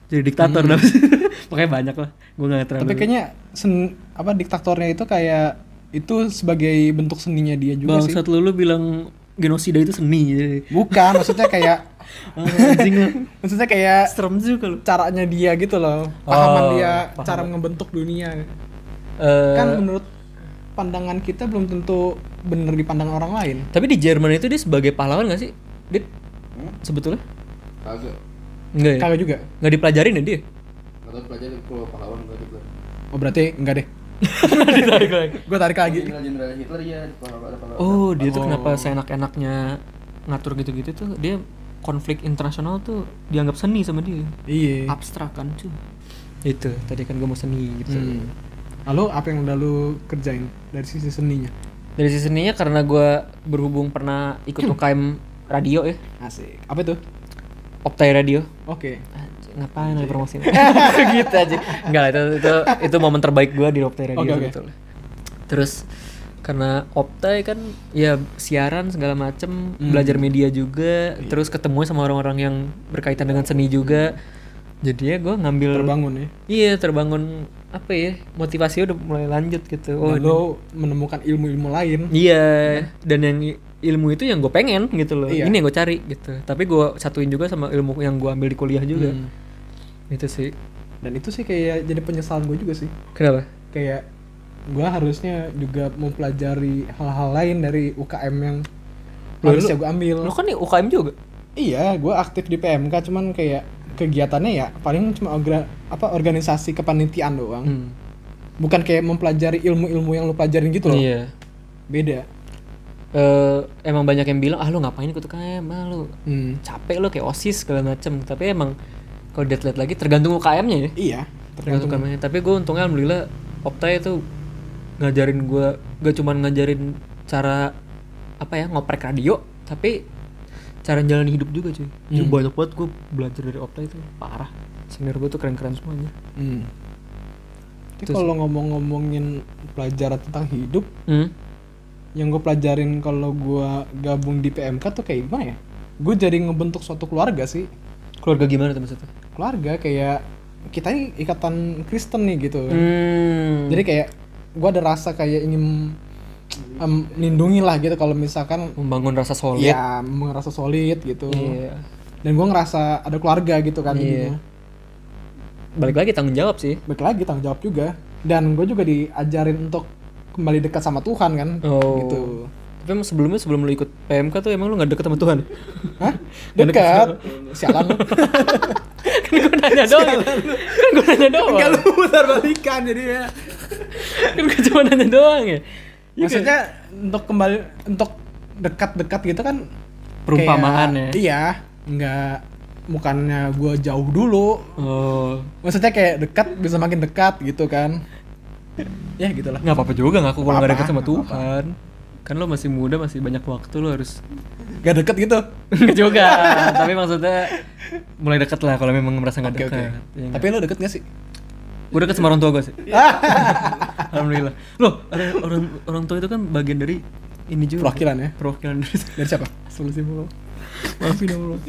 jadi diktator dah makanya banyak lah gue nggak terlalu Hmm. Tapi kayaknya sen, apa diktatornya itu kayak itu sebagai bentuk seninya dia juga sih. bangsat lu lu bilang genosida itu seni jadi ah, Bukan, maksudnya kayak anjing lu maksudnya kayak serem juga lu caranya dia gitu loh. Pahaman Oh, dia paham. cara membentuk dunia. Eh, Kan menurut pandangan kita belum tentu bener di pandangan orang lain. tapi di Jerman itu dia sebagai pahlawan nggak sih dit Hmm? sebetulnya Kagak. enggak ya Kagak juga. nggak dipelajarin ya dia Nggak tahu pelajaran kalau pahlawan nggak ada pelajaran. Oh berarti enggak deh. Ditarik lagi. Gue tarik lagi. Iya. Jenderal-jenderal Hitler ya, di pahlawan ada pahlawan. oh dia tuh kenapa seenak-enaknya ngatur gitu-gitu tuh dia konflik internasional tuh dianggap seni sama dia Iya. abstrak kan cuy itu tadi kan gue mau seni gitu Hmm. Lalu apa yang udah lu kerjain dari sisi seninya? dari sisi seninya karena gue berhubung pernah ikut UKM radio ya Asik. Apa itu? Optai radio Eh. Oke. Anjing, ngapain ada promosi gitu aja enggak lah, itu, itu itu momen terbaik gue di Optai radio Oke, oke. sebetulnya. terus karena Optai kan ya siaran segala macem Hmm. belajar media juga Iya. terus ketemu sama orang-orang yang berkaitan dengan seni juga jadinya gue ngambil Terbangun ya. iya terbangun apa ya motivasi udah mulai lanjut gitu oh Dan lo menemukan ilmu-ilmu lain Iya, dan yang i- ilmu itu yang gue pengen gitu loh. Iya. Ini yang gue cari gitu. Tapi gue satuin juga sama ilmu yang gue ambil di kuliah juga. Hmm. Itu sih. dan itu sih kayak jadi penyesalan gue juga sih Kenapa? kayak gue harusnya juga mempelajari hal-hal lain dari UKM yang Lo- harusnya lo- gue ambil Lo kan nih UKM juga. iya gue aktif di PMK cuman kayak kegiatannya ya paling cuma ogra- apa organisasi kepanitiaan doang Hmm. bukan kayak mempelajari ilmu-ilmu yang lo pelajarin gitu loh Iya. beda Eh, emang banyak yang bilang ah lo ngapain ikut UKM? Ah, lo Hmm. capek lo kayak osis segala macem. Tapi emang kalau dilihat lagi tergantung UKM-nya ya. Hmm. iya Tergantung tergantung UKM-nya. Tapi gue untungnya alhamdulillah Opta itu ngajarin gue gak cuman ngajarin cara apa ya ngoprek radio, tapi cara jalan hidup juga cuy. Ya, banyak banget gue belajar dari Opta itu parah. Senior gue tuh keren-keren semuanya. Hmm. Tapi kalau ngomong-ngomongin pelajaran tentang hidup Hmm. yang gue pelajarin kalau gue gabung di PMK tuh kayak gimana ya? Gue jadi ngebentuk suatu keluarga sih. Keluarga gimana tuh maksudnya? Keluarga kayak kita ini ikatan Kristen nih gitu. Hmm. Jadi kayak gue ada rasa kayak ingin em, melindungi lah gitu kalau misalkan Membangun rasa solid. ya merasa solid gitu. Iya. Dan gue ngerasa ada keluarga gitu kan jadinya. Balik lagi tanggung jawab sih. Baik lagi tanggung jawab juga. Dan gue juga diajarin untuk kembali dekat sama Tuhan kan. Oh. Gitu. Tapi emang sebelumnya sebelum lu ikut PMK tuh emang lu gak deket sama Tuhan? Hah? Dekat. Sialan lu. kan gue nanya doang. kan gue nanya doang. Enggak lu putar balikan jadi ya. kan gue cuma nanya doang ya Maksudnya untuk kembali untuk dekat-dekat gitu kan Perumpamaan kayak- ya? Iya, enggak bukannya gua jauh dulu. oh Maksudnya kayak dekat bisa makin dekat gitu kan. ya gitulah nggak apa-apa juga ngaku kalau nggak Apa-apa, dekat sama nggak Tuhan kan lo masih muda masih banyak waktu lo harus gak deket gitu nggak juga tapi maksudnya mulai deket lah kalau memang merasa nggak oke dekat oke Ya nggak? tapi lo deket gak sih gue deket sama orang tua gue sih alhamdulillah loh orang orang orang tua itu kan bagian dari ini juga Perwakilan ya? perwakilan dari dari siapa solusi mulu maafin Allah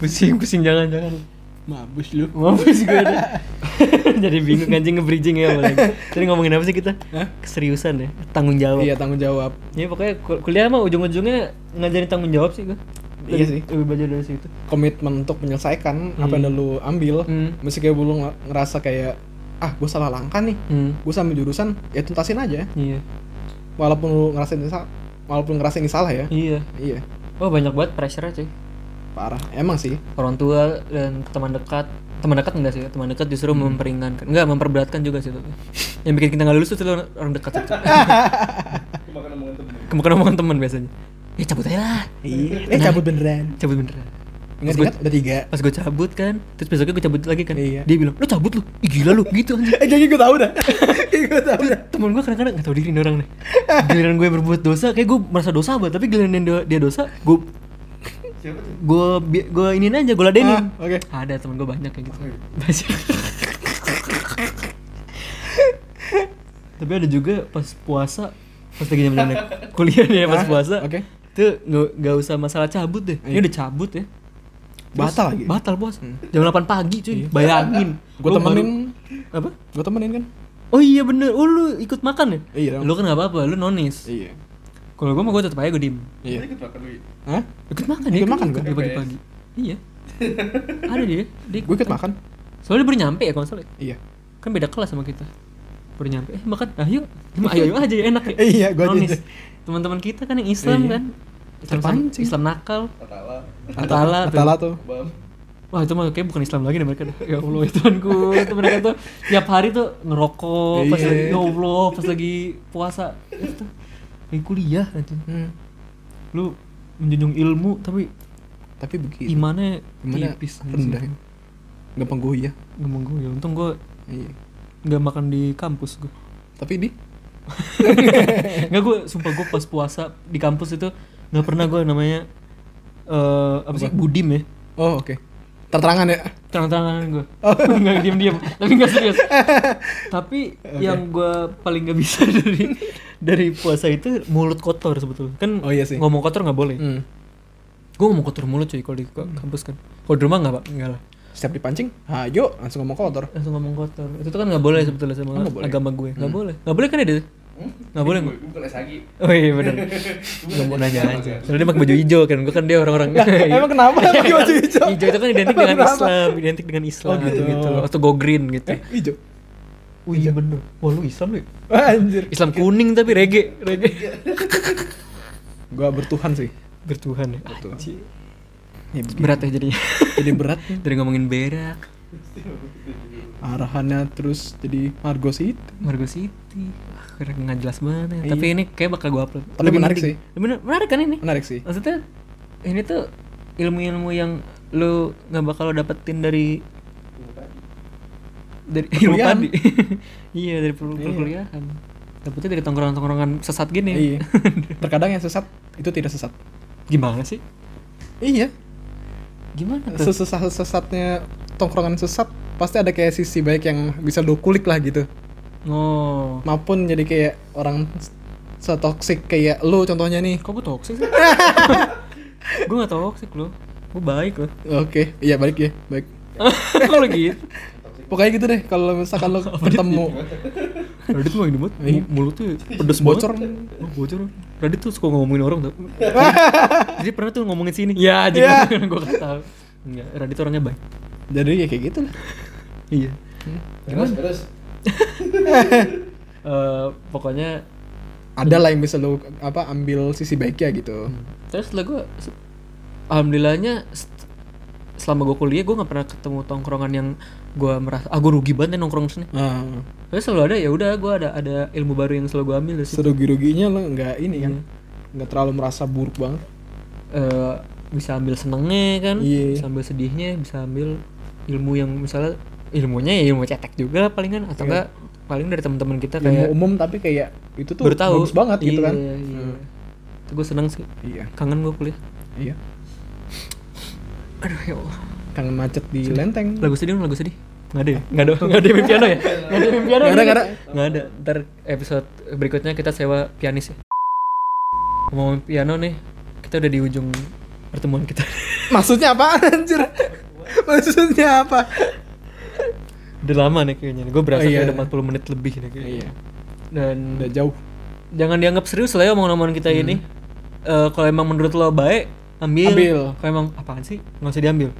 pusing pusing jangan jangan mabus lu mampus gue ada jadi bingung anjing nge-bridging ya apalagi tadi ngomongin apa sih kita keseriusan ya tanggung jawab iya tanggung jawab ya pokoknya kul- kuliah mah ujung-ujungnya ngajarin tanggung jawab sih gue Iya sih. lebih belajar dari situ komitmen untuk menyelesaikan apa yang udah lu ambil Hmm. mesti kayak lu nge- ngerasa kayak ah gue salah langkah nih hmm gue sambil jurusan ya tuntasin aja iya walaupun lu ngerasain ini salah walaupun ngerasain ini salah ya iya iya oh banyak banget pressure sih parah emang sih orang tua dan teman dekat teman dekat enggak sih teman dekat justru Hmm. memperingankan enggak memperberatkan juga sih itu yang bikin kita nggak lulus itu tuh orang dekat itu Oh. Makan omongan temen. kemungkinan omongan teman biasanya ya cabut aja lah iya eh Nah. cabut beneran cabut beneran ingat ingat udah tiga pas gue cabut kan terus besoknya gue cabut lagi kan Iya. dia bilang lu cabut lu Ih, gila lu gitu anjing eh jadi gue tau dah gue tau dah temen gue kadang-kadang gak tau diri nih orang nih giliran gue berbuat dosa kayak gue merasa dosa banget tapi giliran dia, dia dosa gue Siapa tuh? gue bi- gue iniin aja gue ladenin Ah, oke. ada temen gue banyak kayak gitu Banyak. tapi ada juga pas puasa pas lagi zaman kuliah nih ya, pas Ah, puasa oke. tuh nggak nggak usah masalah cabut deh ini Iya. udah cabut ya Terus Batal lagi? batal bos jam 8 pagi cuy bayangin gue Lu Iya. temenin baru- apa gue temenin kan Oh iya bener, oh lu ikut makan ya? Iya dong. Lu kan gak apa-apa, lu nonis iya Kalau gue mah gue tetep aja gue diem iya Tadi ketrakan lu ya? Hah? Ikut makan Ikut ya? makan gue gua. pagi-pagi Iya Ada dia, dia gue ikut makan Soalnya dia baru nyampe ya kalau nggak salah iya Kan beda kelas sama kita Baru nyampe, eh makan, ayo Ayo ayo aja ya enak ya Eh, iya, gua aja. Nonis Teman-teman kita kan yang Islam Iya. kan Islam, Terpancing. Islam nakal Katalah. Atala tuh. Atala tuh Bam. Wah itu mah kayak bukan Islam lagi deh mereka deh. Ya Allah ya Tuhanku itu mereka tuh tiap hari tuh ngerokok pas Iya. lagi ya Allah pas lagi puasa itu kayak kuliah aja. Hmm. Lu menjunjung ilmu tapi tapi begitu imannya Gimana tipis Iya. rendah anjing. gampang gue ya Ngomong gue ya untung gue iya nggak makan di kampus gue. tapi di Nggak gue sumpah gue pas puasa di kampus itu nggak pernah gue namanya eh apa sih budim ya oh oke terterangan ya Iya. terang-terangan gue Oh. nggak diam-diam tapi nggak serius tapi yang gue paling nggak bisa dari dari puasa itu mulut kotor sebetulnya kan Oh, iya sih. ngomong kotor nggak boleh hmm. gue ngomong kotor mulut cuy kalau di ka- kampus kan kalau di rumah nggak pak nggak lah setiap dipancing ayo langsung ngomong kotor langsung ngomong kotor itu tuh kan nggak boleh sebetulnya sama Oh, nggak boleh? Hmm. agama gue nggak boleh nggak boleh kan ya Dit? nggak boleh Gue gue kelas lagi. oh iya benar nggak mau nanya aja soalnya dia pakai baju hijau kan gue kan dia orang-orang emang kenapa pakai baju Iya. hijau hijau itu kan identik dengan Islam identik dengan Islam Oh, gitu. gitu gitu atau go green gitu eh hijau Wih, iya bener. Wah, lu Islam lu ya? Wah, anjir Islam kuning tapi reggae, reggae. gua bertuhan sih Bertuhan ya. Bertuhan. Anjir. ya, begitu. Berat ya jadinya. jadi berat Dari ngomongin berak, arahannya terus jadi Margo City Margo City. Wah, keren nggak jelas banget. ya. Tapi ini kayak bakal gua upload. Tapi menarik penting. Bener, menarik kan ini? menarik sih Maksudnya ini tuh ilmu-ilmu yang lu nggak bakal lo dapetin dari dari ilmu Perkuliahan. tadi. iya, dari perlu perkuliahan. Dapetnya dari tongkrongan-tongkrongan sesat gini. iya terkadang yang sesat itu tidak sesat Gimana sih? iya Gimana tuh? sesesat sesatnya tongkrongan sesat pasti ada kayak sisi baik yang bisa lu kulik lah gitu Oh. maupun jadi kayak orang setoksik kayak lu contohnya nih Kok gue toxic sih? gue gak toxic loh Gue baik loh Oke, iya balik ya, baik. Kalau gitu Pokoknya gitu deh, kalau misalkan lo ketemu Radit mah ini banget Iya. mu- Mulutnya pedes bocor, banget. Oh, Bocor Radit tuh suka ngomongin orang tau Jadi pernah tuh ngomongin sini Ya jadi gue gak tau Enggak, Radit orangnya baik jadi ya kayak gitu lah. Iya Terus terus. Eh, Pokoknya Ada lah yang bisa lo apa ambil sisi baiknya gitu. Terus setelah gue Alhamdulillahnya st- Selama gue kuliah gue gak pernah ketemu tongkrongan yang Gue merasa Ah gue rugi banget ya nongkrong sini Nah, Tapi selalu ada ya udah gue ada ada ilmu baru yang selalu gue ambil dari situ. serugi-ruginya lo nggak ini kan, nggak terlalu merasa buruk banget. eh bisa ambil senengnya kan Iya. bisa ambil sedihnya bisa ambil ilmu yang misalnya ilmunya ya ilmu cetek juga palingan atau enggak paling dari teman-teman kita Iya. Ilmu kayak umum tapi kayak itu tuh baru tahu bagus banget gitu Iya, kan. iya. Hmm. Itu gue seneng sih Iya. kangen gue kuliah Iya. aduh ya Allah Kangen macet di Lenteng. lagu sedih dong, lagu sedih nggak ada ya? nggak ada nggak ada piano ya nggak ada piano Hmm. Nggak ada, nggak ada. nggak ada ntar episode berikutnya kita sewa pianis ya ngomong piano nih kita udah di ujung pertemuan kita Maksudnya apa anjir? Maksudnya apa? udah lama nih kayaknya gue berasa Oh, iya. kayak udah 40 menit lebih nih kayaknya Iya. dan Udah jauh. jangan dianggap serius lah ya omongan-omongan kita ini Eh, kalau emang menurut lo baik ambil, Ambil. kalau emang apaan sih nggak usah diambil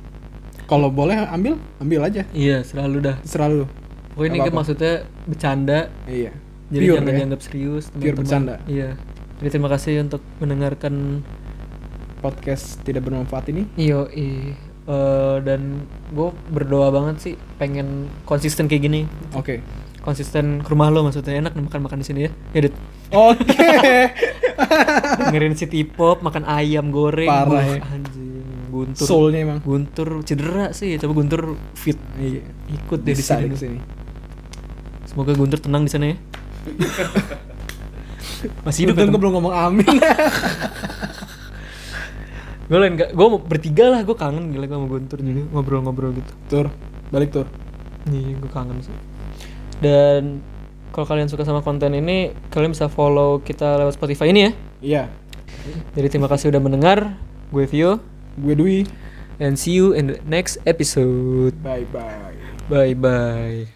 Kalau boleh ambil, ambil aja. iya selalu dah Selalu. pokoknya ini Nggak kan apa-apa. maksudnya bercanda Iya. jadi Pure jangan ya. dianggap serius Pure bercanda. iya jadi terima kasih untuk mendengarkan Podcast tidak bermanfaat ini. iyo Eh, dan gue berdoa banget sih pengen konsisten kayak gini Oke. konsisten ke rumah lo maksudnya enak nih makan makan di sini ya ya Dit. Oke. dengerin city pop makan ayam goreng Parah Wah, ya. anjing guntur Soulnya emang. Guntur cedera sih, coba Guntur fit Iya. ikut deh di Bisa sini. di sini. Semoga Guntur tenang di sana ya. Masih hidup Untung gue kan? belum ngomong amin. Gue lain gak, gue bertiga lah, gue kangen gila gue sama Guntur juga ngobrol-ngobrol gitu. tur, balik tur. Iya, gue kangen sih. Dan kalau kalian suka sama konten ini, kalian bisa follow kita lewat Spotify ini ya. Iya. Jadi terima kasih udah mendengar. Gue Vio Gue Dwi. and see you in the next episode. Bye bye. Bye bye.